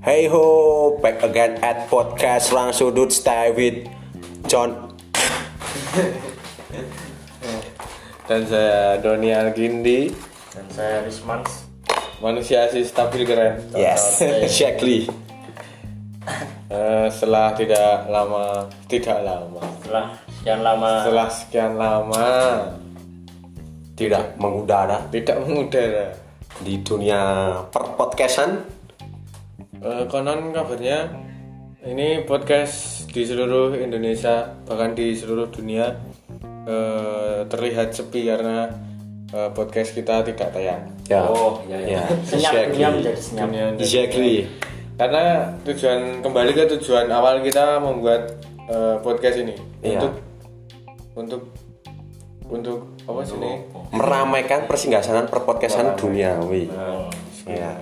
Hey ho, back again at podcast Rang Sudut Stay with John. Dan saya Doni Algindi dan saya Rismans Manusia asis stabil keren Yes, exactly. Eh, Setelah tidak lama Tidak lama setelah sekian lama Setelah sekian lama Tidak mengudara Tidak mengudara di dunia perpodcastan. Eh, Konon kabarnya Ini podcast di seluruh Indonesia Bahkan di seluruh dunia eh, Terlihat sepi karena eh, Podcast kita tidak tayang Ya. oh iya iya Ya, senyap dunia menjadi senyap Dunia Iya. Exactly. karena tujuan kembali ke tujuan awal kita membuat eh, podcast ini Iya. untuk untuk untuk apa sih ini Meramaikan persinggasanan perpodcastan duniawi. Ya.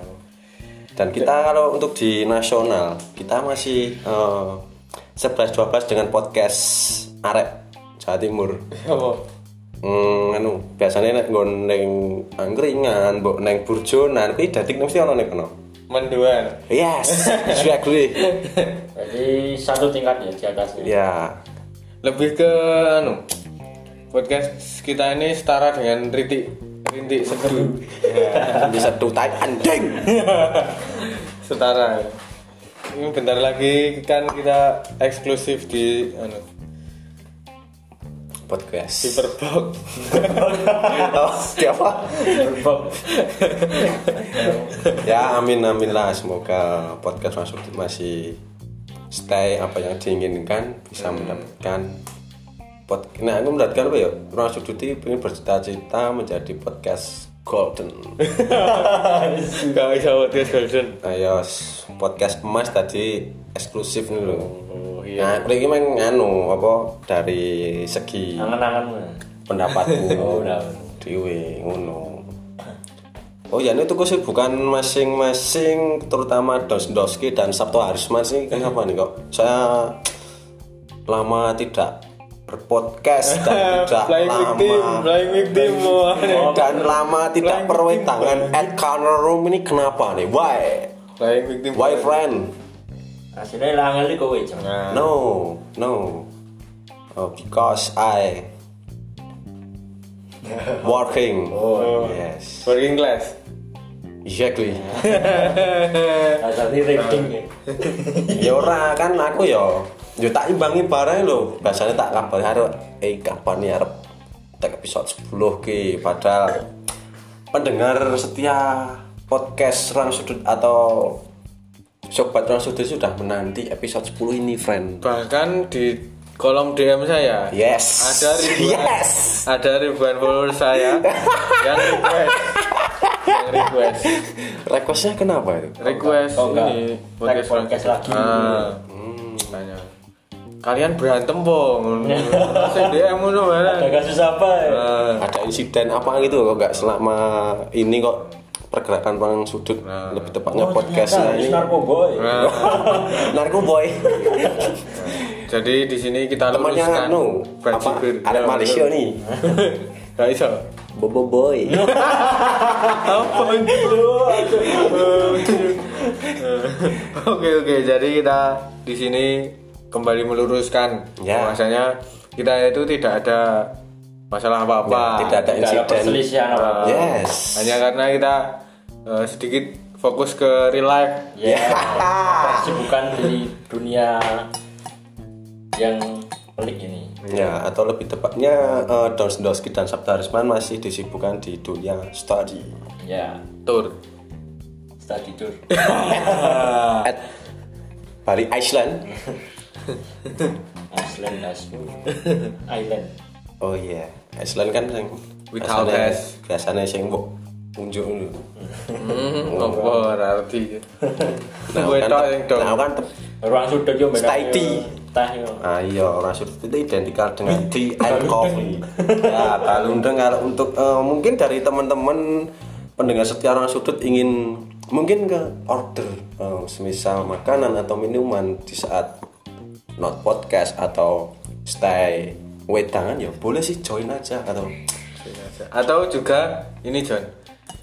Dan kita kalau untuk di nasional, kita masih eh, 11-12 dengan podcast Arek Jawa Timur. apa Hmm, anu, biasanya nek nggon ning angkringan, mbok ning burjonan, kuwi dadik mesti ana ning kono. menduan Yes, exactly. jadi satu tingkat ya di atasnya ya, lebih ke anu podcast kita ini setara dengan rintik rintik seduh bisa tutai anjing. setara ini bentar lagi kan kita eksklusif di anu Podcast. Hyperbox Oh, siapa? Bob. ya, amin amin lah semoga podcast masuk masih stay apa yang diinginkan bisa mendapatkan pod nah aku mendapatkan apa ya ruang sudut ini ingin bercita-cita menjadi podcast golden nggak bisa podcast golden Ayo, s- podcast emas tadi eksklusif nih loh. oh iya Nah, ini memang anu apa dari segi Iya. angan-angan pendapatku Oh, udah. dewe ngono. Oh ya ini tuh sih bukan masing-masing terutama Dos Doski dan Sabto Harisman sih kenapa nih kok saya lama tidak berpodcast dan tidak flying victim lama flying victim mau dan lama tidak Flying perwetangan at corner room ini kenapa nih why Flying victim. why friend hasilnya langan li kowe Jeng. No, no. Oh, because I working. Oh, iya. yes. Working class. Exactly. hasilnya rating ya ya ora kan aku ya yo tak imbangi bareng lho. Biasanya tak kabar arep eh kapan ya arep tak episode 10 ki padahal pendengar setia podcast Rang Sudut atau Sobat Rang Sudut sudah menanti episode 10 ini, friend. Bahkan di kolom DM saya Yes. ada ribuan Yes. ada ribuan follower saya yang request yang request Requestnya kenapa itu? request Oh, enggak. ini Tag podcast lagi. Hmm. Ah, tanya. Kalian berantem po? Saya DM ngono bareng. ada kasus apa ya Ah, ada insiden apa gitu kok nggak selama ini kok pergerakan orang sudut lebih tepatnya Oh, podcastnya ternyata ini habis narkoba ya. narko boy Jadi di sini kita temannya luruskan anu apa Bajigur. ada Malaysia nih Gak iso. bobo boy apa itu oke oke jadi kita di sini kembali meluruskan Ya. bahwasanya kita itu tidak ada masalah apa apa Ya, tidak ada tidak ada insiden perselisihan apa yes hanya karena kita eh, sedikit fokus ke real life ya kesibukan di dunia yang pelik ini ya atau lebih tepatnya uh, Dons Donski dan Sabda Harisman masih disibukkan di dunia study ya tour study tour at Bali Iceland Iceland Iceland Island oh iya Iceland kan yang Without biasanya- us. biasanya sing mbok unjuk dulu hmm, apa arti Oh, Nah, gue kan tau te- yang dong nah, kan te- ruang sudut yo mbak Stay tea. tah yo Ah iya, orang Surabaya itu identikal dengan tea and coffee. ya, balundeng kalau untuk eh, mungkin dari teman-teman pendengar setia orang sudut ingin mungkin ke order eh, semisal makanan atau minuman di saat not podcast atau stay wedangan ya boleh sih join aja atau atau juga ini John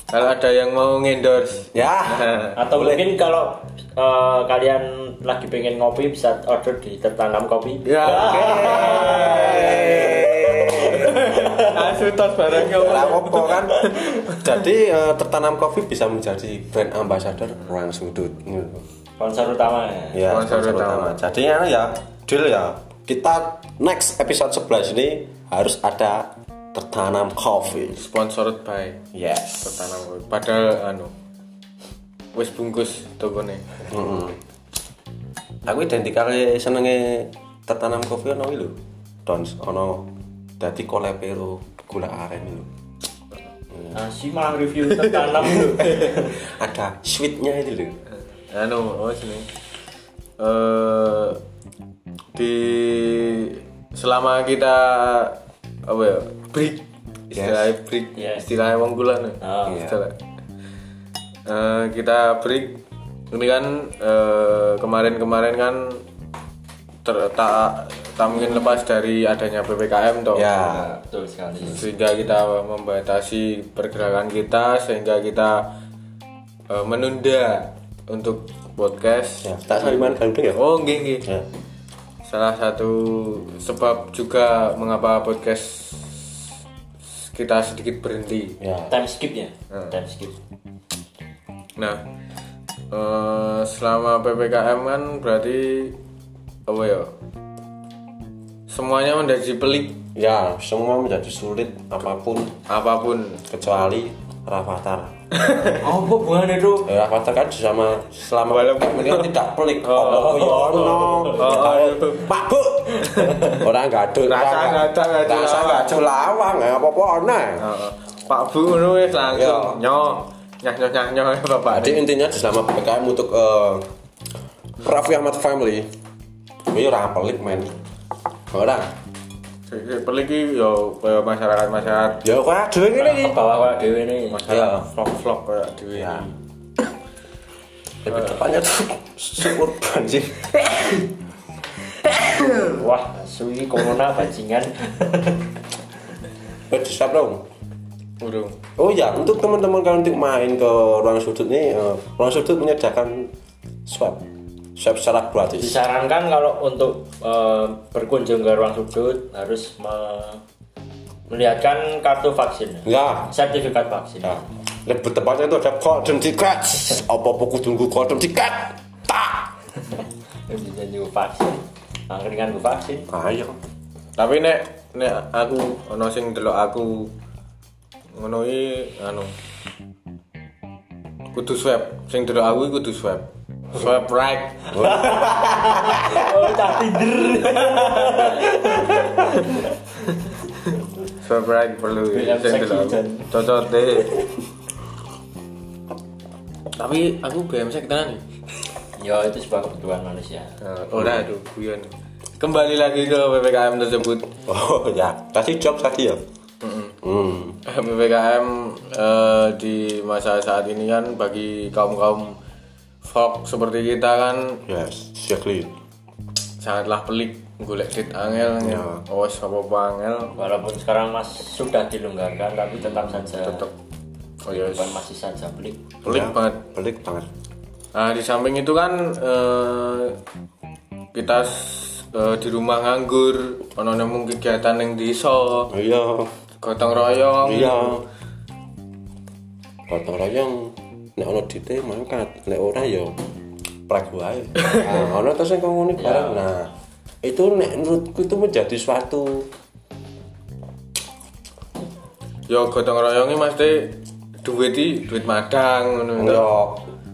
Kalau ada yang mau endorse. Ya. Atau Boleh. mungkin kalau eh, kalian lagi pengen ngopi bisa order di tertanam kopi. Ya. Oke. Asu tos barangnya. Lah apa kan? Jadi eh, tertanam kopi bisa menjadi brand ambassador orang sudut. Sponsor utama. Ya, Sponsor sponsor utama. utama. Jadi ya, ya deal ya. Kita next episode 11 ini harus ada tertanam kopi. Sponsored by Yes. Pertanam kopi. Padahal anu. Wis bungkus tokone. Mm-mm. Aku identikal senenge tertanam kopi ono iki lho. Dons ono dadi kolepero gula aren lho. Nah, si malah review tertanam dulu. Ada sweetnya itu lho. Anu, oh sini. Eh di selama kita apa ya? Break. Istilahnya break. Yes. Istilahnya wong kula nih. Ah. Iya. Istilah. Eh, kita break. Ini kan eh, kemarin-kemarin kan ter- tak tak mungkin lepas dari adanya PPKM toh Iya. Ya, Betul sekali. sehingga kita membatasi pergerakan kita sehingga kita eh, menunda untuk podcast ya tak sariman gandeng ya. oh nggih nggih Ya. salah satu sebab juga mengapa podcast kita sedikit berhenti Ya. Time skipnya. Time skip. nah eh, selama ppkm kan berarti apa ya semuanya menjadi pelik Ya, semua menjadi sulit apapun apapun kecuali Rafathar. Oh, apa hubungannya itu? Eh, Rafathar kan sama selama Walaupun- ini kan tidak pelik. Oh, yo ono. Pak Bu. Orang gaduh. Rasa gaduh, gaduh Rasa lawang. gaduh lawang ya apa-apa ono. Heeh. Pak Bu ngono wis Iya. langsung nyoh nyah nyoh nyah nyoh bapak Jadi intinya di selama PPKM untuk eh, Raffi Ahmad Family ini orang pelik men orang Peliki yo kaya masyarakat masyarakat ya kok ada yang ini Ke bawah kok dewe ini. ya vlog vlog kayak dewi. ya lebih depannya tuh syukur banjir Wah, suwi corona bajingan. Eh, di stop dong Urung. oh ya untuk teman-teman kalau nanti main ke ruang sudut ini eh, ruang sudut menyediakan swab swab secara gratis Disarankan kalau untuk eh, berkunjung ke ruang sudut harus me- melihatkan kartu vaksin. ya Sertifikat vaksin. ya lebih tepatnya itu ada kodem tiket apa buku tunggu kodem tiket tak Ini janji gue vaksin. Angkringan gue vaksin. ayo Tapi nek nek aku ono sing delok aku ngono iki anu kudu swab sing delok aku iki kudu swab. Swab right. Oh, tak tidur. Swab right perlu iki, Biar sing seksi, delok aku. Jan. Cocote. Tapi aku BMC tenan iki. Ya itu sebuah kebutuhan manusia. Eh, Ora aduh guyon. Kembali lagi ke PPKM tersebut. Oh ya, tadi job tadi ya. Hmm. PPKM eh, di masa saat ini kan bagi kaum-kaum folk seperti kita kan Yes, exactly. sangatlah pelik golek duit angel. Ya. Oh, sapa angel Walaupun sekarang mas sudah dilonggarkan, tapi tetap saja tetep oh ya kehidupan masih saja pelik. pelik Ya, banget. Pelik banget. Nah, di samping itu kan eh, kita s- eh, di rumah nganggur, ono nemu kegiatan yang desa, Iya, gotong royong. iya. Gotong royong nek ono dite mangkat, nek ora ya prek wae. Nah, ono terus sing kok Iya. ngene bareng. Nah, itu nek menurutku itu menjadi suatu Yo gotong royongnya mesti duit i, duit madang ngono. ya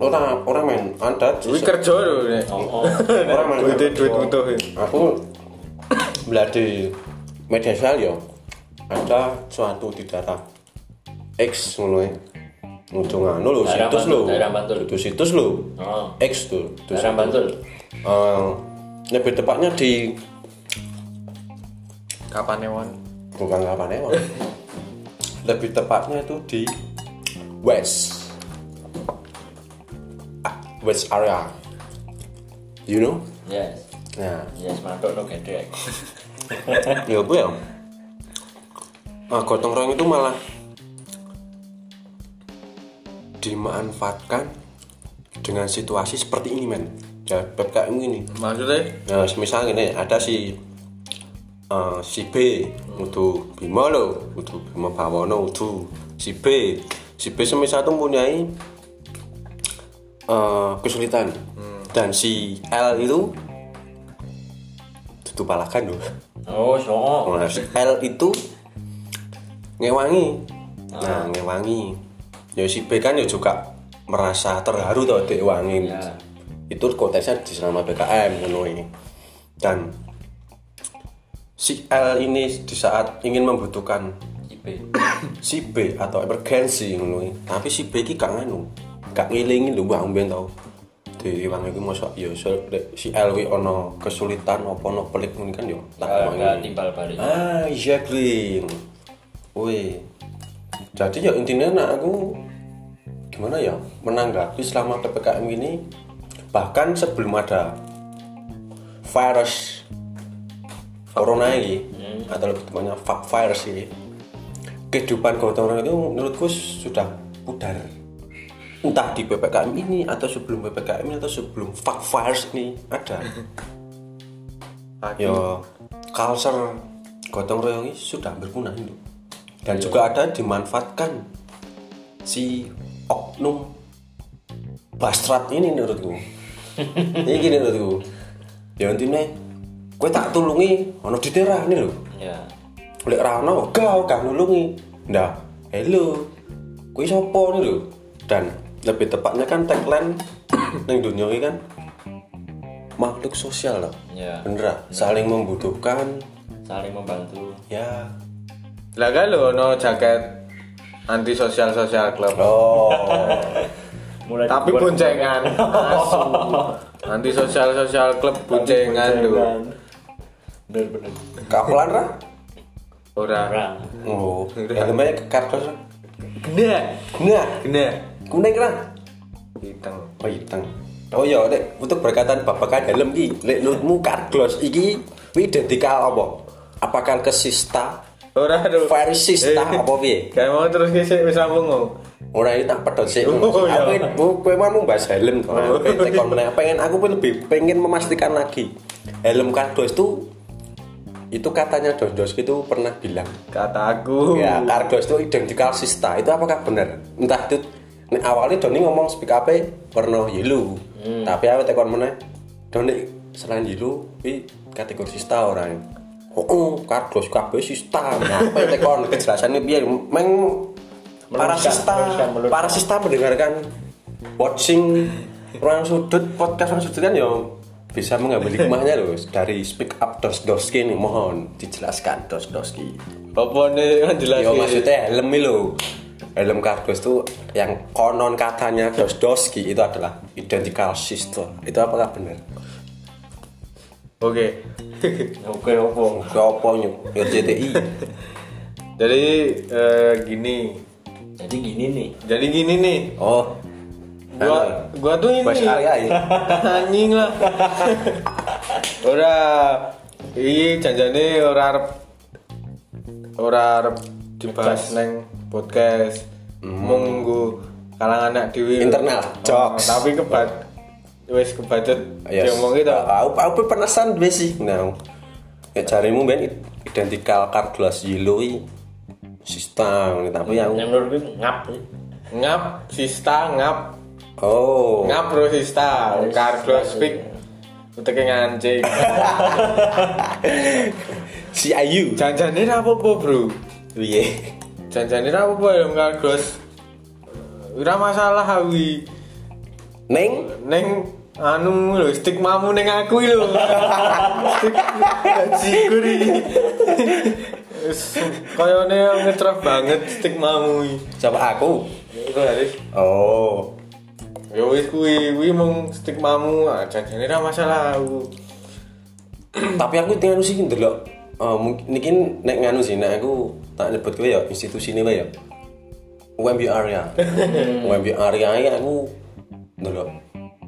orang orang main ada Kuwi kan kerja lho nek. Oh, orang main Duite duit utuh. ya. aku melihat di media sosial ya ada suatu di daerah X ngono ya Ujung anu lho, Daerah situs Bantul, lho daerah Bantul. Itu situs lho Oh. X tuh itu Daerah Bantul. Eh, Lebih tepatnya di Kapan ewon? Bukan kapan ya Lebih tepatnya itu di West Ah, West area You know? Yes, Nah, yes, mantok no gedek. ya apa ya Ah, nah gotong royong itu malah dimanfaatkan dengan situasi seperti ini men ya bab kayak gini maksudnya Nah, semisal gini, ada si eh, si B Udu Bima lo, Udu Bima Bawono, Udu si B. Si B semisal itu mempunyai eh, kesulitan dan si L itu tutup palakan loh. oh so Nah, si L itu ngewangi. Nah, ngewangi. Ya si B kan ya juga merasa terharu tau dek wangi. Ya. Itu konteksnya di selama PKM ngono ini. Dan si L ini di saat ingin membutuhkan IP si B atau emergency ngono ini. Tapi si B iki gak nganu. Gak ngelingi lho Mbak Umben tau. Di wangi iki mosok ya so, lek si L wi ono kesulitan apa ono pelik ngono kan yo. Tak agak wangi. timbal balik Ah, exactly. Woi. Jadi ya intinya nak aku gimana ya menanggapi selama PPKM ini bahkan sebelum ada virus corona ini atau lebih tepatnya fuck virus ini kehidupan gotong royong itu menurutku sudah pudar entah di PPKM ini atau sebelum PPKM ini atau sebelum fuck virus ini ada yo culture gotong royong ini sudah hampir punah itu dan juga ada dimanfaatkan si oknum bastrat ini menurutku ini gini menurutku ya intinya gue tak tulungi ono di daerah ini loh ya oleh Rano kau gak nulungi nah hello kui sopo nih lho dan lebih tepatnya kan tagline yang dunia ini kan makhluk sosial loh Iya. bener ah? saling membutuhkan saling membantu ya lah kan lo no jaket anti sosial sosial club oh mulai tapi dibuat- boncengan asu anti sosial sosial club boncengan lo bener bener kapelan lah ora orang oh yang namanya kartos Ra? gede nah gede kuning lah hitam oh hitam oh iya Dek. untuk berkaitan babakan helm ki lek nutmu kartos iki wi dedikal apa apakah kesista ora lo Farisista apa piye? kayak mau terus kisah bisa bungo Ora iki tak pedot sik. Oh, iya. Aku bu- kowe mau bahas helm kok. Oh. Aku tekon meneh. Pengen aku pun lebih pengen memastikan lagi. Helm Kardos itu itu katanya Dos-Dos itu pernah bilang. kata aku Ya, Kardos itu identikal sista. Itu apakah benar? Entah itu nek awalnya Doni ngomong speak up e warna yellow. Tapi aku tekon meneh. Doni selain yellow, wi kategori sista orang. Oh, oh Kardos kabeh sista. Nah, apa tekon kejelasannya piye? Meng para Meluruskan, sista, meluruskan, meluruskan. para sista mendengarkan watching ruang sudut podcast ruang sudut kan ya bisa mengambil hikmahnya loh dari speak up dos doski ini mohon dijelaskan dos doski apa nih kan Yo jelas sih. Iya, maksudnya helm ini loh helm kardus tuh yang konon katanya dos doski itu adalah identical sister itu apakah benar? oke oke opo Kopo nyu RCTI jadi eh, gini jadi gini nih jadi gini nih oh gua gua tuh ini Bahasa Arya ya? anjing lah ora iki janjane ora arep ora arep dibahas neng podcast munggu kalangan anak dhewe Hmm. Oh, Internal, jokes. tapi kebat wis kebacut Yes. Ah. diomong gitu Aku, aku pun penasaran dua sih. Nah, ya carimu ben identikal kardus yellow i. sista ini, tapi yang yang menurut gue ngap sih. ngap sista ngap oh ngap bro sista kardo speak utek ngancing si Ayu janjane ra apa-apa bro piye janjane ra apa-apa ya kardos ora masalah awi neng neng anu lho stigmamu neng aku lho jigur iki Wis, kayane ngetraf banget stigmamu iki siapa aku itu harus oh ya wis kuwi kuwi mung stigmamu ah, janjane ra masalah aku tapi aku tinggal sih ndelok Eh, mungkin nikin nek nganu sih nek aku tak nyebut kowe ya institusi ini ya UMB area UMB area ini aku ndelok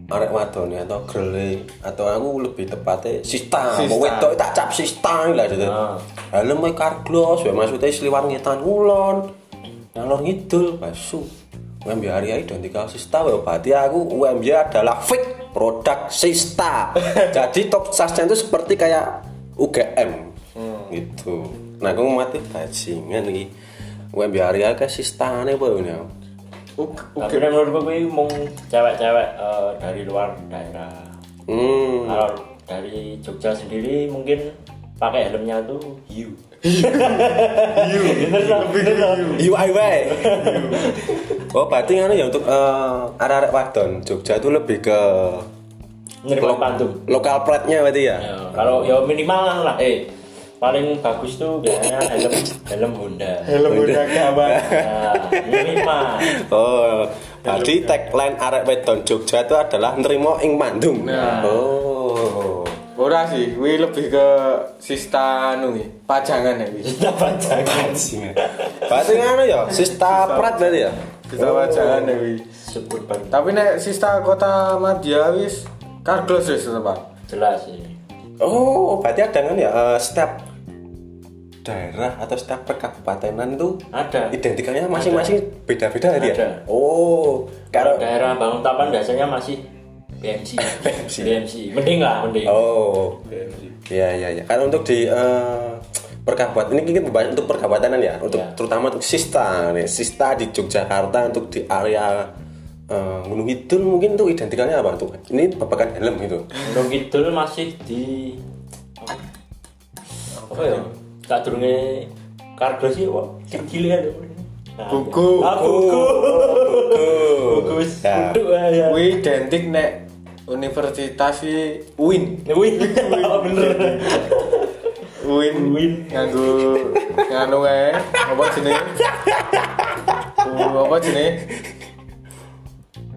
arek wadone atau grele atau aku lebih tepatnya sista Sista. mau wedok tak cap sista lah gitu helm e karglos ya maksudnya seliwan ngetan ulon ngalor ngidul basu UMY hari-hari identikal sista wae ya, berarti aku UMY adalah fake produk sista jadi top charge itu seperti kayak UGM gitu nah aku mati bajingan nih UMY hari-hari kayak sista aneh apa ini ya. Oke. Tapi nek menurutku kuwi mung cewek-cewek eh, dari luar daerah. hmm Kalau dari Jogja sendiri mungkin pakai helmnya tuh hiu. Hiu. Bener toh? Bener toh? UIY oh berarti anu ya untuk eh, arah-arah wadon Jogja itu lebih ke Nerima pantum. lokal pride-nya berarti ya Ya, Kalau ya minimal anu lah eh paling bagus tuh biasanya helm helm Honda. Helm udah kabar. Nah, minimal. Oh, tadi tagline arek wedon Jogja itu adalah nerimo ing mandung. Nah. Oh. Ora sih, kuwi lebih ke sista anu iki, pajangan ya kuwi. Kita panjang. Berarti ngono ya, sista prat berarti ya. Sista pajangan ya kuwi. Sebut bang. Tapi nek sista kota Madia wis kaglos wis Pak. Jelas sih. Oh, berarti ada kan ya eh, setiap daerah atau setiap perkabupatenan tuh Ada. identikalnya masing-masing beda-beda tadi Ada. ya. Oh, kalau Kalau Eh, daerah Bangun Tapan biasanya masih BMC. BMC. BMC. Mending lah, mending. Oh. Iya iya iya. Kalau untuk di eh, perkabupaten ini kita bahas untuk perkabupatenan ya, untuk Iya. Ya. terutama untuk Sista nih. Sista di Yogyakarta untuk di area eh, Gunung Kidul mungkin tuh identikalnya apa tuh? Ini babakan helm gitu. Gunung Kidul masih di apa, apa ya? Tak durunge kargo sih, Wak. Kecil ya. Nah, Buku. Ah, Nah. buku. Buku. wis Ya. Duduk aja. Kuwi identik nek universitas iki UIN. Nah, Wih, bener. UIN UIN. nganggo nganu ae, apa jenenge? Uh, apa jenenge?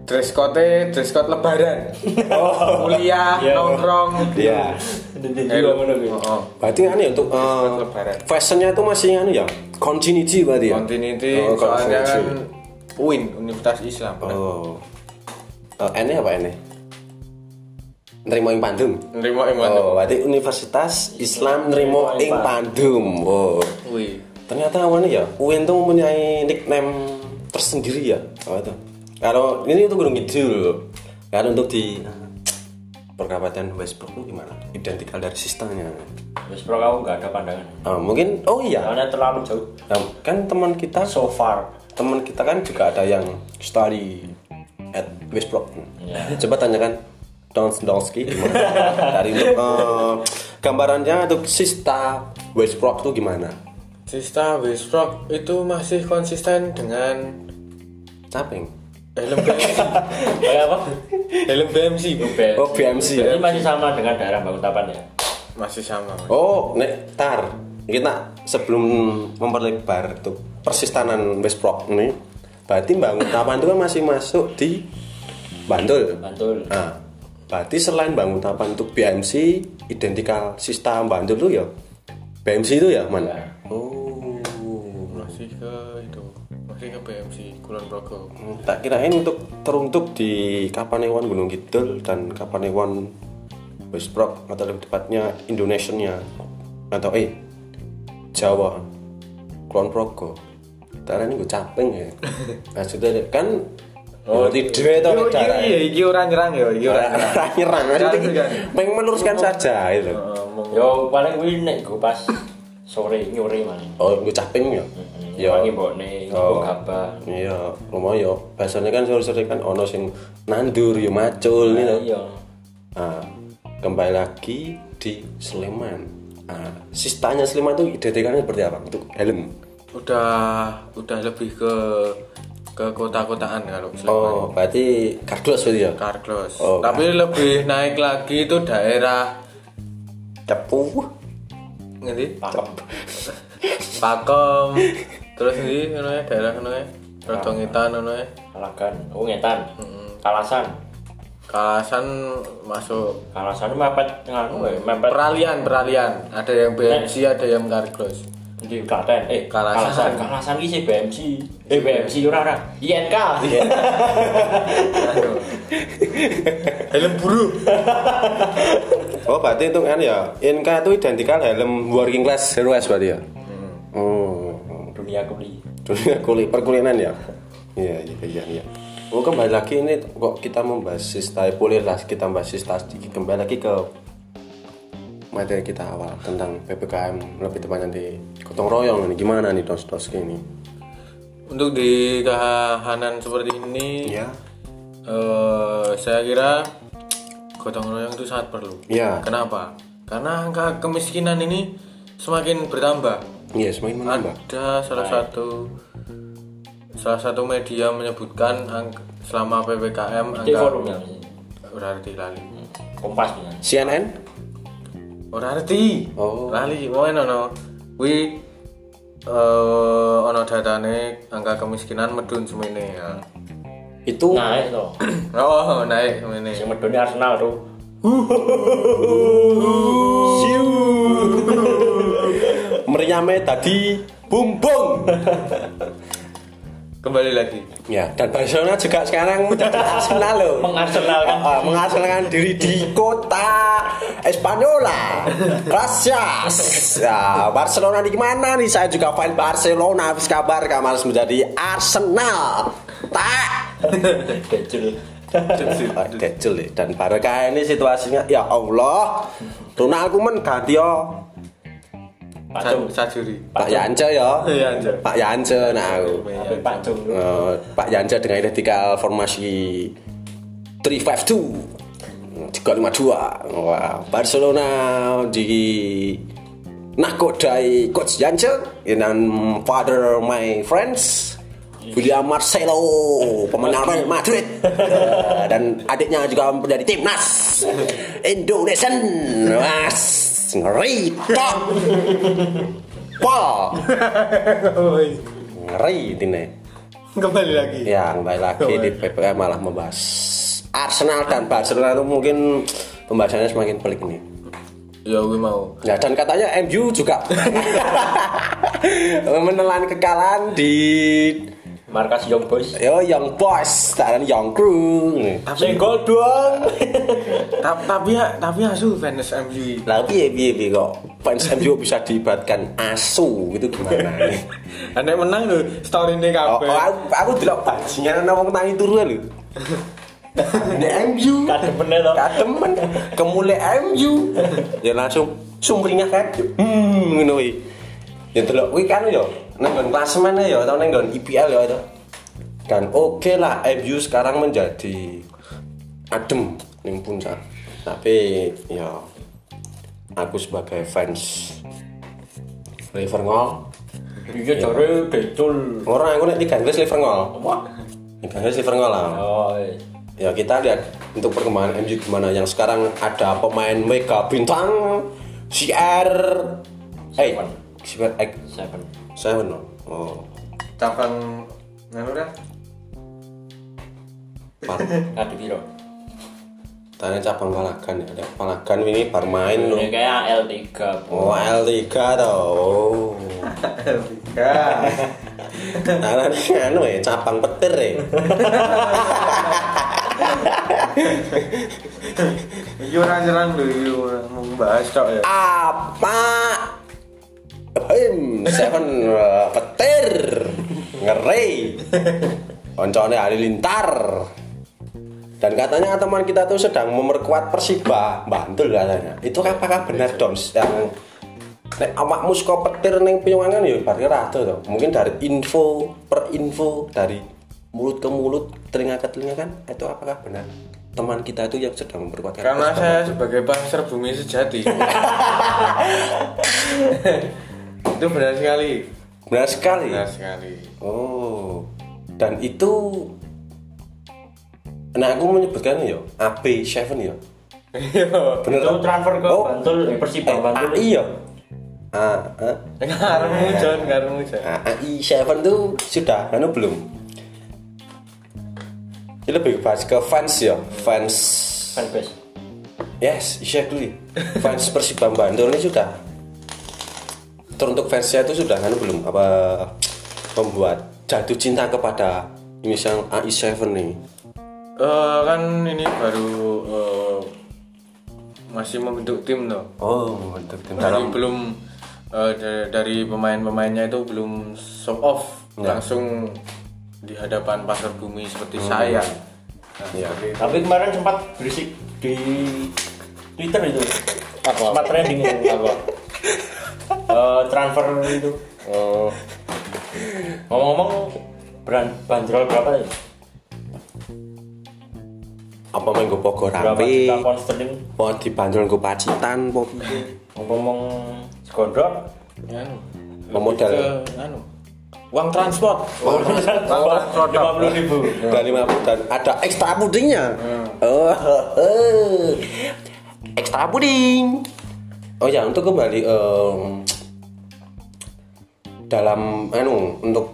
Dress code dress code lebaran. Kuliah, Iya. nongkrong. Iya. Eh, Dede juga ngono kuwi. oh, oh. Berarti kan ya untuk eh, Lebaran. fashionnya itu masih anu ya, continuity berarti ya. Continuity Oh, soalnya kan continuity. UIN Universitas Islam. Oh. Eh, N-nya apa N-nya? Nerimo ing pandum. Nerima iman. Oh, berarti Universitas Islam Nerimo ing Pandum. Oh. Wih. Ternyata awalnya ya, UIN tuh mempunyai nickname tersendiri ya. Apa itu? Kalau ini untuk Gunung Kidul. Kalau untuk di perkabupaten Westbrook itu gimana? Identikal dari sistemnya. Wis pro kamu enggak ada pandangan. Ah, mungkin oh iya. Soalnya terlalu jauh. Nah, kan teman kita So far. teman kita kan juga ada yang study at Westbrook. Iya. Coba tanyakan Don Sdolski gimana? Dari eh, gambarannya untuk sista Westbrook tuh gimana? Sista Westbrook itu masih konsisten dengan Caping. helm BMC. Kayak apa? helm BMC Bu. BMC. Oh, BMC ya. Ini masih sama dengan daerah Bangun Tapan ya. masih sama. Oh, nek tar. Kita sebelum memperlebar tuh persistanan Westbrook ini, berarti bangun tapan itu kan masih masuk di Bantul. Bantul. Nah, berarti selain bangun tapan untuk BMC identikal sista Bantul tuh ya. BMC itu ya, Man? Ya. Oh. Masih ke itu, masih ke BMC Kulon Progo. Tak kirain untuk teruntuk di Kapanewon Gunung Kidul dan Kapanewon Westbrook atau lebih tepatnya Indonesianya atau eh Jawa Kulon Progo. Karena ini gue capek ya. Maksudnya kan oh, tidak itu iya, cara iki ora nyerang ya, iki nyerang maksudnya Jangan. pengen meluruskan saja gitu. itu. Yo paling kuwi nek gue pas sore nyuri maling. Oh, gue capek ya. Ya Ya. wangi mbokne, Oh. oh. kabar. Iya, lumayan. Biasanya kan sore-sore kan ono sing nandur, yo macul, gitu. Iya. Nah, kembali lagi di Sleman. Nah, sistanya Sleman itu identikannya seperti apa? Untuk helm. Udah udah lebih ke ke kota-kotaan kalau Sleman. Oh, berarti kardus berarti ya? Carlos. Oh, Tapi lebih naik lagi itu daerah Cepu. ngerti? Pakem. Pakem. Terus ini ngono ya, daerah ngono ya. Rodongitan ngono ya. Kalakan. Oh ngetan. Kalasan. Kalasan masuk Kalasan itu mepet nganu we, mepet peralian peralian ada yang BMC ada yang Carlos di Klaten. Eh, Kalasan. Kalasan. Kalasan iki sih BMC. Eh BMC ora ora. INK. Aduh. helm buruk Oh, berarti itu kan ya, INK itu identikal helm working class hero S berarti ya? Oh, Dunia kuli. dunia kulit perkulinan ya? Iya, iya, iya, iya. Oh, kembali lagi ini kok kita membahas sistem boleh lah kita membahas sistem sedikit kembali lagi ke materi kita awal tentang PPKM lebih tepatnya di gotong royong ini gimana nih dos-dos ini? Untuk di kahanan seperti ini, Iya. eh, saya kira gotong royong itu sangat perlu. Iya. Kenapa? Karena angka kemiskinan ini semakin bertambah. Iya, semakin menambah. Ah. Ada salah satu salah satu media menyebutkan angk- selama ppkm Di angka forum ya maksudnya. Ora arti lali. Kompas ya. CNN? Ora arti. Oh. Lali wae ono. Kuwi eh ono datane angka kemiskinan medun semene ya. Itu Naik toh. Hmm. Oh, naik semene. Yang medone Arsenal tuh. Siu. meriamnya tadi bum bum. Kembali lagi. Ya, dan Barcelona juga sekarang menjadi Arsenal loh. Mengarsenalkan. Ah, ah, menghasilkan diri di kota Espanola. Gracias. Ya, Barcelona di mana nih? Saya juga fan Barcelona. Habis kabar kamar menjadi Arsenal. Tak. Decil. Ah, Decil nih. dan Barca ini situasinya ya Allah. Ronaldo men ganti yo. Pacung. Sa- Sajuri. Pak Yance yo. Iya, Yance. Pak Yance nah aku. Tapi pacung. Eh, Pak Yanja dengan identikal formasi 352 352 Wah, Barcelona di nakodai coach Yanja dan father my friends William Marcelo pemenang Real Madrid Eh, dan adiknya juga menjadi timnas Indonesia Mas ngeri Tok. Pol ngeri ini Kembali lagi. Ya, kembali lagi di PPM malah membahas Arsenal dan Barcelona itu mungkin pembahasannya semakin pelik nih. Ya gue mau. Ya, dan katanya MU juga menelan kekalahan di Markas Young Boys. yo Young Boys dan Young Crew. Sing gol doang. Ta- tapi ya, tapi asu fans MU. Lah piye piye piye kok fans MU bisa diibatkan asu gitu gimana nih? Anda menang lho story ini Oh, oh, kabeh. aku, aku delok bajingan ana wong tangi turu lho. Nek MU Kadang bener toh. kademen kemule MU ya langsung sumringah kan hmm ngono kuwi ya delok kuwi kan ya nang nggon klasemen ya atau nang nggon IPL ya itu dan oke lah MU sekarang menjadi adem ning puncak tapi ya aku sebagai fans Liverpool Iya jare decil. orang aku nek tiga Inggris Liverpool Wah. tiga Inggris Liverpool lah Oh. ya kita lihat untuk perkembangan MU gimana yang sekarang ada pemain mega bintang CR eh CR eh, Seven. saya no oh Cabang nganu kan? dah. par Kadu piro? tanya cabang Palagan ya ada Palagan ini bar main lo Ini kayak L3. oh L3 toh oh karena ini anu ya cabang petir ya Iki ora nyerang lho iki ora mau bahas tok ya. apa Hem, seven eh, petir ngeri koncone halilintar dan katanya teman kita tuh sedang memperkuat Persiba Bantul katanya itu apakah benar Doms yang Nek awakmu suka petir neng piungan ya berarti ratu tuh mungkin dari info per info dari mulut ke mulut telinga ke telinga kan itu apakah benar teman kita itu yang sedang memperkuat Karena saya sebagai pasar bumi sejati. Itu benar sekali. benar sekali Benar sekali. Oh, dan itu, nah aku menyebutkan ya, AB7 ya, Yo. bener Itu Iya, transfer ke Oh. Bantul, eh, Persiba Bantul. AI ya, Ah, ah. Karmu John, karmu John. Nah, AI7 tuh sudah, anu belum? Ini lebih bahas ke fans ya, fans, Fanbase. yes, exactly, fans Persiba Bandung ini sudah. Teruntuk fansnya itu sudah, anu belum? Apa membuat jatuh cinta kepada misal AI7 nih? Eh, kan ini baru eh, masih membentuk tim loh. Oh, membentuk tim Jadi belum eh, da- dari pemain-pemainnya itu belum show off langsung di hadapan pasar bumi seperti saya. Nah, Iya. seperti itu. Tapi kemarin sempat berisik di Twitter itu. Apa? Sempat trending itu apa? Eh, transfer itu. Oh, Ngomong-ngomong beran banderol berapa ya? apa main gue pogo Berapa rapi juta pound sterling? mau dibanderol gue pacitan po Ngomong gondrong. anu. Memodal. Lebih ke, anu. Uang transport. Lima puluh ribu. dan lima puluh, dan ada ekstra pudingnya oh ekstra puding oh ya untuk kembali em, dalam anu untuk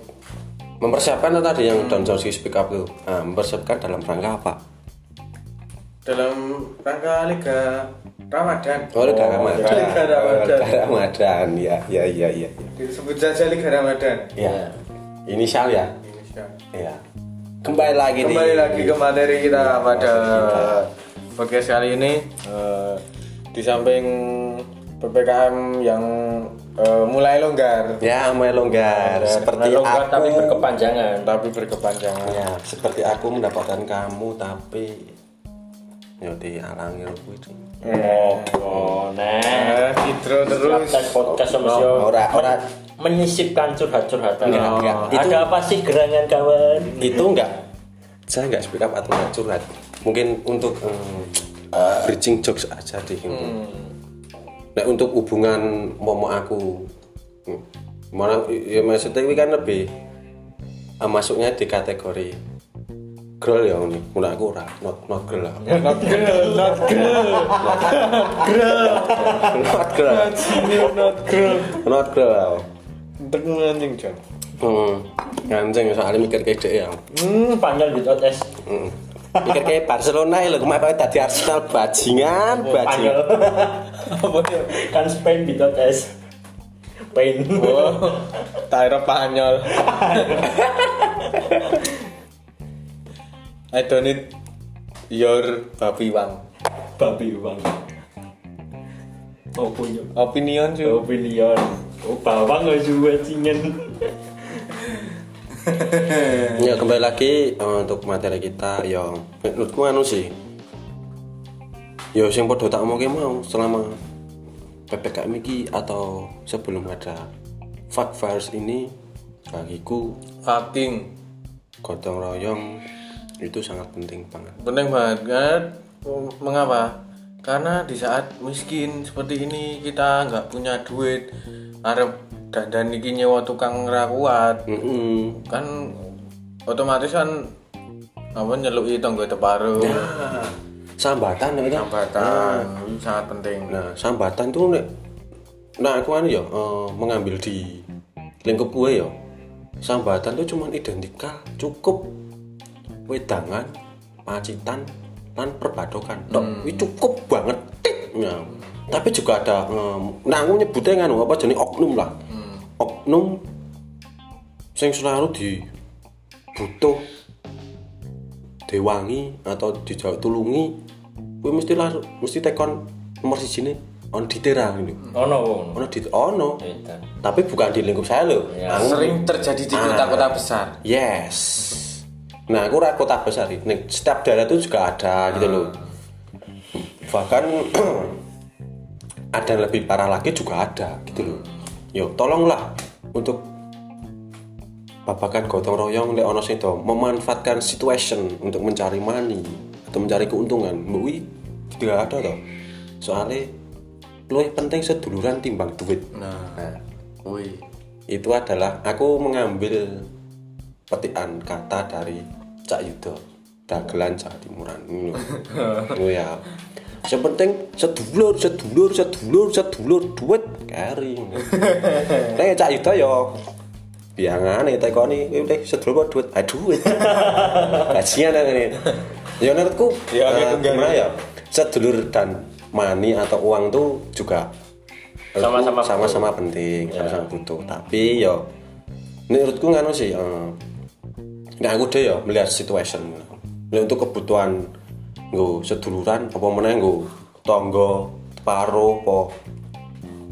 mempersiapkan tuh tadi yang dan Josie speak up itu nah, mempersiapkan dalam rangka apa Dalam rangka Liga Ramadan. oh Liga Ramadan Oh, Liga Ramadan. Liga Ramadan ya ya ya ya ya. Disebut saja Liga Ramadan. ya inisial ya Indonesia. ya kembali lagi nih. Kembali lagi ke materi kita pada podcast kali ini eh, di samping ppkm yang eh, mulai longgar ya mulai longgar seperti Longgar aku tapi berkepanjangan. tapi berkepanjangan. Ya, seperti aku mendapatkan kamu tapi ya dialangi aku itu. Oh, oh, nah. Eh, intro terus. Siapkan podcast sama Oh, Sio. Ora ora Menyisipkan curhat-curhatan. Enggak, Oh. enggak. Itu- Ada apa sih gerangan kawan? itu enggak saya enggak speak up atau enggak curhat. Mungkin untuk em, bridging jokes aja deh. Nah, untuk hubungan momo aku. Hmm. Mana ya maksudnya ini kan lebih eh, masuknya di kategori girl ya ini. Mulai aku ora not not girl lah. Not girl, not girl, not girl. sini not girl. Not girl. lah. Tengok anjing Jon. Hmm. Anjing soalnya mikir kayak dia ya. Hmm, panjang gitu tes. Hmm. Pikir kayak Barcelona ya lho, kemarin kok tadi Arsenal bajingan, Panjang. bajingan. Apa ya? Kan Spain gitu tes. Spain. Oh, Tyro Panyol. I don't need your babi wang. Babi uang. Oh punya. Opinion cuy. Oh bilion. Oh bawang gak juga cingen. Ya kembali lagi eh, untuk materi kita ya menurutku anu sih. Ya sing podo tak mau mau selama PPKM iki atau sebelum ada fuck virus ini bagiku Fucking gotong royong itu sangat penting banget. penting banget. Mengapa? Karena di saat miskin seperti ini kita nggak punya duit, arep dan iki nyewa tukang rakuat Mm-mm. kan otomatis kan apa nyeluk itu nggak teparu Sambatan ya. kan? hambatan sangat penting Nah, sambatan tuh nek nah aku anu ya eh, mengambil di lingkup gue ya. Sambatan tuh cuman identikal cukup wedangan, pacitan, dan perbadokan. Tok, wih, cukup banget. Tik. Nah, tapi juga ada eh, nah aku nyebutnya nganu apa jenis oknum lah. Oknum sing selalu di butuh dewangi atau dijauh tulungi gue mesti lah mesti tekon nomor di sini on ditera gitu Oh no. wong. ono di ono Edan. tapi bukan di lingkup saya loh Ya, Aku- Nah, sering terjadi di kota-kota Nah. besar yes nah aku rakyat kota besar ini Nih, setiap daerah itu juga ada gitu loh bahkan ada yang lebih parah lagi juga ada gitu loh yuk tolonglah untuk babakan gotong royong lek ono sing do memanfaatkan situation untuk mencari money atau mencari keuntungan mbui tidak ada toh soalnya lebih penting seduluran timbang duit nah wih itu adalah aku mengambil petikan kata dari Cak Yudo dagelan Jawa Timuran Ini loh. Itu ya sepenting sedulur sedulur sedulur sedulur duit kering nih Cak Yudo yo biangan nih teko nih ini deh sedulur apa duit ah duit gajian ini ya menurutku Ya, eh, gitu, enggak. gimana ya sedulur dan money atau uang tuh juga Sama-sama Menurutku sama-sama penting sama-sama butuh tapi yo menurutku nganu sih eh, nah aku deh yo melihat situation Nah, untuk kebutuhan nggo seduluran apa meneh nggo tonggo paro apa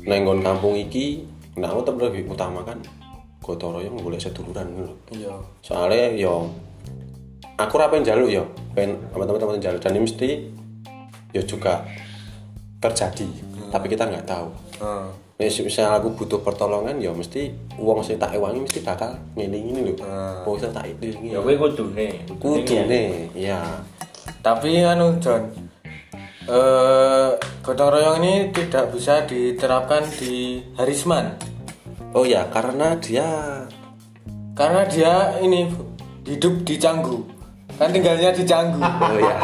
nenggon kampung iki nah aku tetep lebih utamakan gotong royong boleh seduluran dulu iya soalnya yo ya, aku ra pengen jaluk yo pengen sama teman-teman jaluk dan ini mesti yo juga terjadi Hmm. tapi kita nggak tahu Ah, Nek misalnya aku butuh pertolongan ya mesti uang sing tak ewangi mesti bakal ngeling ini lho. Wong sing tak ilingi. ya gue kudune ya. kudune, iya. tapi anu John eh gotong royong ini tidak bisa diterapkan di Harisman Oh ya, karena dia karena dia ini Bu, hidup di Canggu kan tinggalnya di Canggu oh ya.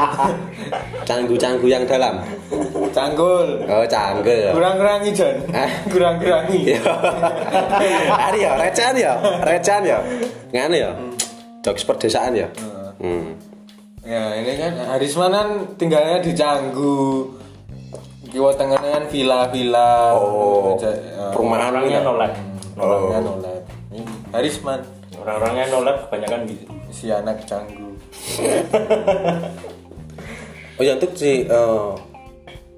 Canggu-canggu yang dalam. Canggul Oh, canggul ya. kurang-kurangi John Hah? kurang-kurangi Iya. Ari ya, recehan ya, recehan ya. Ngene ya. Jokes perdesaan ya. Hmm. ya ini kan Harisman kan tinggalnya di Canggu Kiwa tengahnya kan villa-villa Oh, Aja- ya, perumahan orangnya ya. nolak orangnya nolak. Ini Harisman orang-orangnya nolak kebanyakan gitu si anak Canggu Oh ya untuk si eh,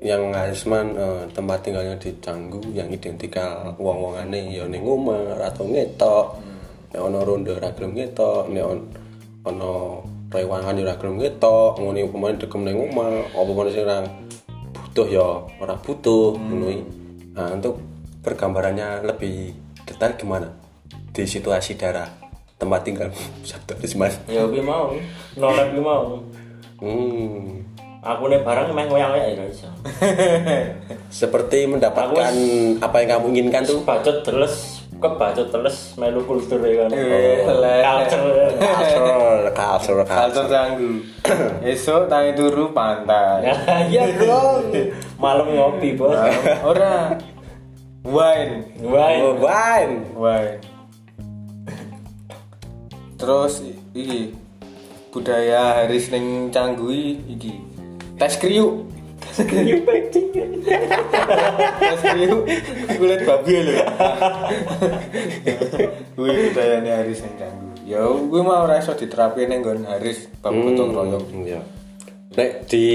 yang Harisman eh, tempat tinggalnya di Canggu yang identikal wong-wongane ya ning omah atau ngetok. Nek ana ronde ora gelem ngetok, nek on- ana rewangan ya ora gelem ngetok, ngene upamane degem ning omah, apa meneh sing ora butuh ya ora butuh ngono iki. Nah, untuk pergambarannya lebih detail gimana? Di situasi daerah tempat tinggal Sabtu Harisman. ya gue mau nolak gue mau Hmm. aku nih barang emang ngoyak-ngoyak ya gak bisa seperti mendapatkan apa yang kamu inginkan tuh bacot teles kebacut teles melu kultur ya kan Eh, teles. culture kasur kasur kasur Kalter Canggu esok tangi turu pantai Nah, iya bro malam ngopi bos ora wine Oh, Wah, Wine. Wine. Terus i- iki budaya Haris ning Canggui iki tes kriuk. tes kriuk kulit babi lho. Kuwi budayane Haris ning Canggu. Ya kuwi mau ora iso diterapke ning nggon Haris bab Hmm. gotong royong. Iya. Nek di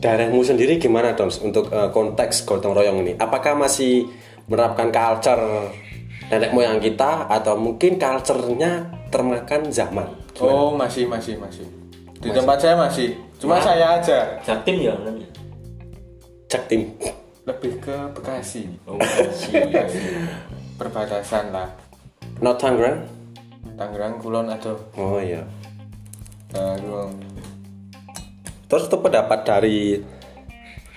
daerahmu sendiri gimana Dons untuk eh, konteks gotong royong ini? Apakah masih menerapkan culture nenek moyang kita atau mungkin culture-nya termakan zaman? Oh, masih masih masih. Di tempat saya masih. Cuma saya aja Jaktim ya namanya. Cek tim. lebih ke Bekasi. Oh, iya. Bekasi. Perbatasan lah. Not Tangerang? Tangerang Kulon atau Oh iya. Tangerang. Terus itu pendapat dari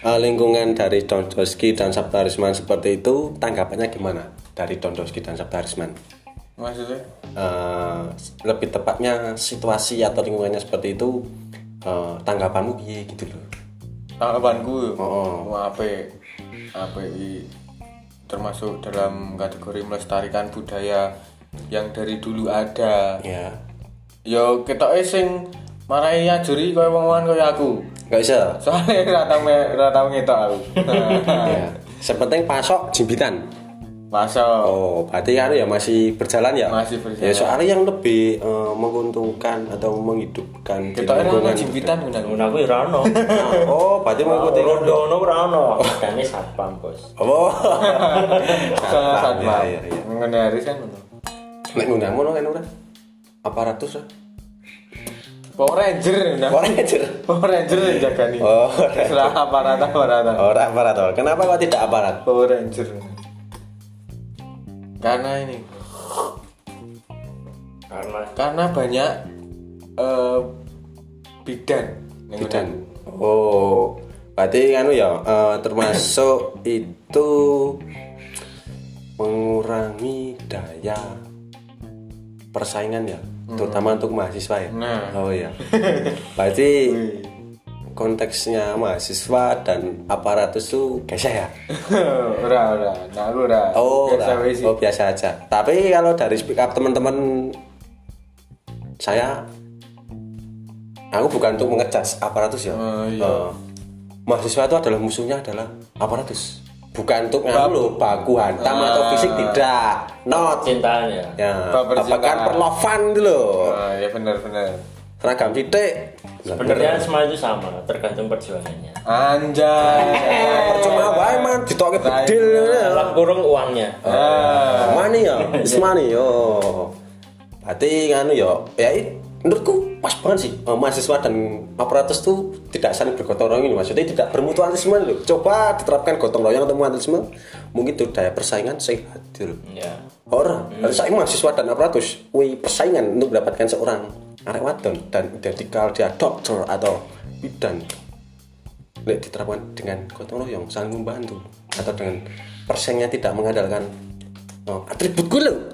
eh, lingkungan dari Dondoski dan Sabtarisman seperti itu tanggapannya gimana dari Dondoski dan Sabtarisman? Maksudnya? Eh, lebih tepatnya situasi atau lingkungannya seperti itu eh, tanggapanmu piye gitu loh. Tanggapanku Oh. oh. apa API termasuk dalam kategori melestarikan budaya yang dari dulu ada. Ya. Yo ketoke sing marai ajuri koyo wong-wongan koyo aku. Gak bisa. Soalnya ora tau me- ora tau ngetok aku. Nah, Ya. Sepenting pasok jimbitan. Masuk. Oh, berarti kan ya masih berjalan ya? Masih Ya berjalan. soalnya yang lebih eh, menguntungkan atau menghidupkan di Ketoke ana lingkungan. jimpitan benar. Ngono aku ya ora ono. Nah, kan- Oh, berarti mengikuti Rondo ono ora ono. Kadane satpam, Bos. Oh. Sangat satpam. Iya, iya, iya. Mengenai Haris kan ngono. Nek ngundang ngono kan ora? Aparatus ra? Power Ranger benar. Ora Ranger. Power Ranger yang jaga nih. Oh, Serah aparat aparat. Ora aparat. oh. Kenapa kok tidak aparat? Power Ranger. Karena ini, Karena karena banyak eh, bidan. Yang Bidan. Oh. Berarti anu ya eh, termasuk itu mengurangi daya persaingan ya, terutama untuk mahasiswa ya. Hmm. Nah. Oh iya. Berarti konteksnya mahasiswa dan aparatus tuh geser ya. ora ora, nah lu ora. Oh, Biasa lah. wae sih. oh biasa aja. Tapi kalau dari speak up teman-teman saya aku bukan untuk mengejas aparatus ya. Oh, iya. Eh, mahasiswa itu adalah musuhnya adalah aparatus. Bukan untuk nganu lho, baku hantam atau Ah. fisik tidak. Not. cintaan ya. Ya, Bab percintaan. apakah perlovan dulu? iya, Ah, ya benar benar. seragam titik Sebenarnya semua itu sama, tergantung perjuangannya. Anjay. percuma wae man ditoke bedil ya. Dalam kurung uangnya. Ah, money ya it's money yo berarti anu yo ya i- menurutku pas banget sih eh, mahasiswa dan aparatus tuh tidak saling bergotong royong ini maksudnya tidak bermutualisme loh coba diterapkan gotong royong atau mutualisme mungkin tuh daya persaingan sehat dulu Ya. Orang, hmm. saya mahasiswa dan aparatus, wih persaingan untuk mendapatkan seorang arek wadon dan identikal dia dokter atau bidan. Lek diterapkan dengan gotong royong, saling membantu atau dengan persaingnya tidak mengandalkan oh, atributku lo.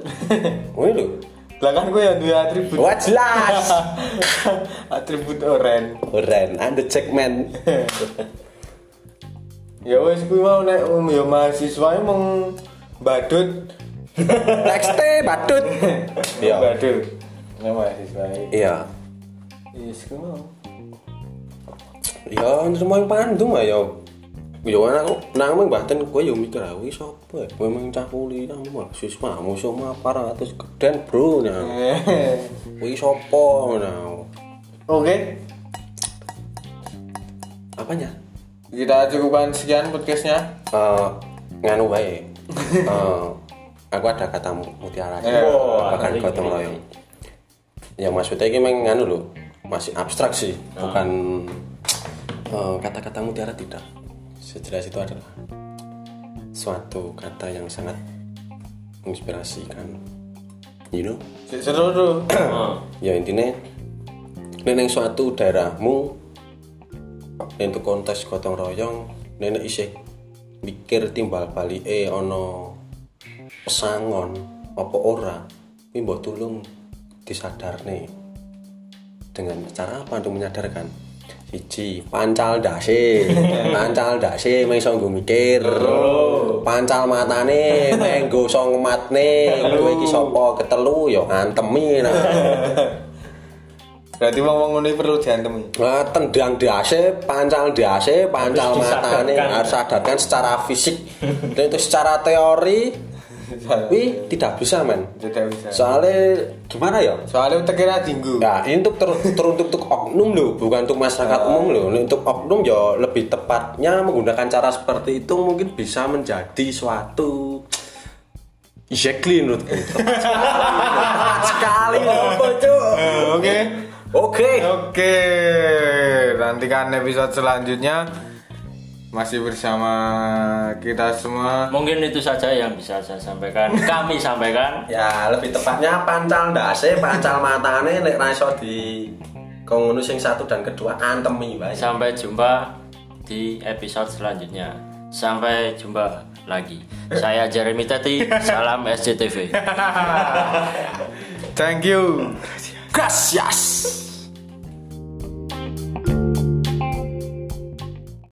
Wih lo, Lah kan gue yang dua atribut. wah jelas. atribut oren. Keren, anda cek men. Ya wes gue mau nek um, ya mahasiswa emang badut. Next day, batut. Iya, Badut. Ya. Nek mahasiswa. iya. Yes, gue mau. Ya, nerima yang pandu mah ya. Ya ana aku nang mung bahten kowe yo mikir ah kuwi sapa ya? Kowe mung cah kuliah mahasiswa musuh mapar atus geden bro nah. Kuwi sapa nah. Oke. Apanya? Kita cukupkan sekian podcastnya. Eh nganu wae. Eh aku ada kata mutiara. Eh, wah, Bahkan ngeri, gotong ngeri. royong. Ya maksudnya iki mung nganu lho. Masih abstrak sih, bukan eh, kata-kata mutiara tidak. Sejelas itu adalah suatu kata yang sangat menginspirasikan you know Sik Seru tuh. Hmm. ya intinya neneng suatu daerahmu untuk kontes gotong royong nenek isih mikir timbal balik eh ono pesangon apa ora ini mbok tulung disadarne dengan cara apa untuk menyadarkan siji pancal dasi pancal dasi meh iso nggo mikir pancal matane meh nggo iso ngematne kowe iki sapa ketelu ya antemi nah Berarti mau ngomong ini perlu diantem. Nah, tendang dasi, pancal dasi, pancal Harus matane disadarkan. harus sadarkan secara fisik. Dan itu secara teori, tapi tidak bisa men. Tidak bisa. Ya. Soalnya gimana ya? Soalnya tekira dinggu. Nah, ini untuk ter- teruntuk untuk oknum loh, bukan untuk masyarakat umum loh. Ini Untuk oknum ya lebih tepatnya menggunakan cara seperti itu mungkin bisa menjadi suatu Exactly menurutku. Tepat sekali. Tepat sekali. loh. Eh, Oke. Oke. Oke, nantikan episode selanjutnya masih bersama kita semua. Mungkin itu saja yang bisa saya sampaikan. Kami sampaikan. ya lebih tepatnya pancal ndase pancal matane nek ra iso di kongono sing satu dan kedua antemi wae Sampai jumpa di episode selanjutnya. Sampai jumpa lagi. Saya Jeremy Teti. Salam SCTV. Thank you. gracias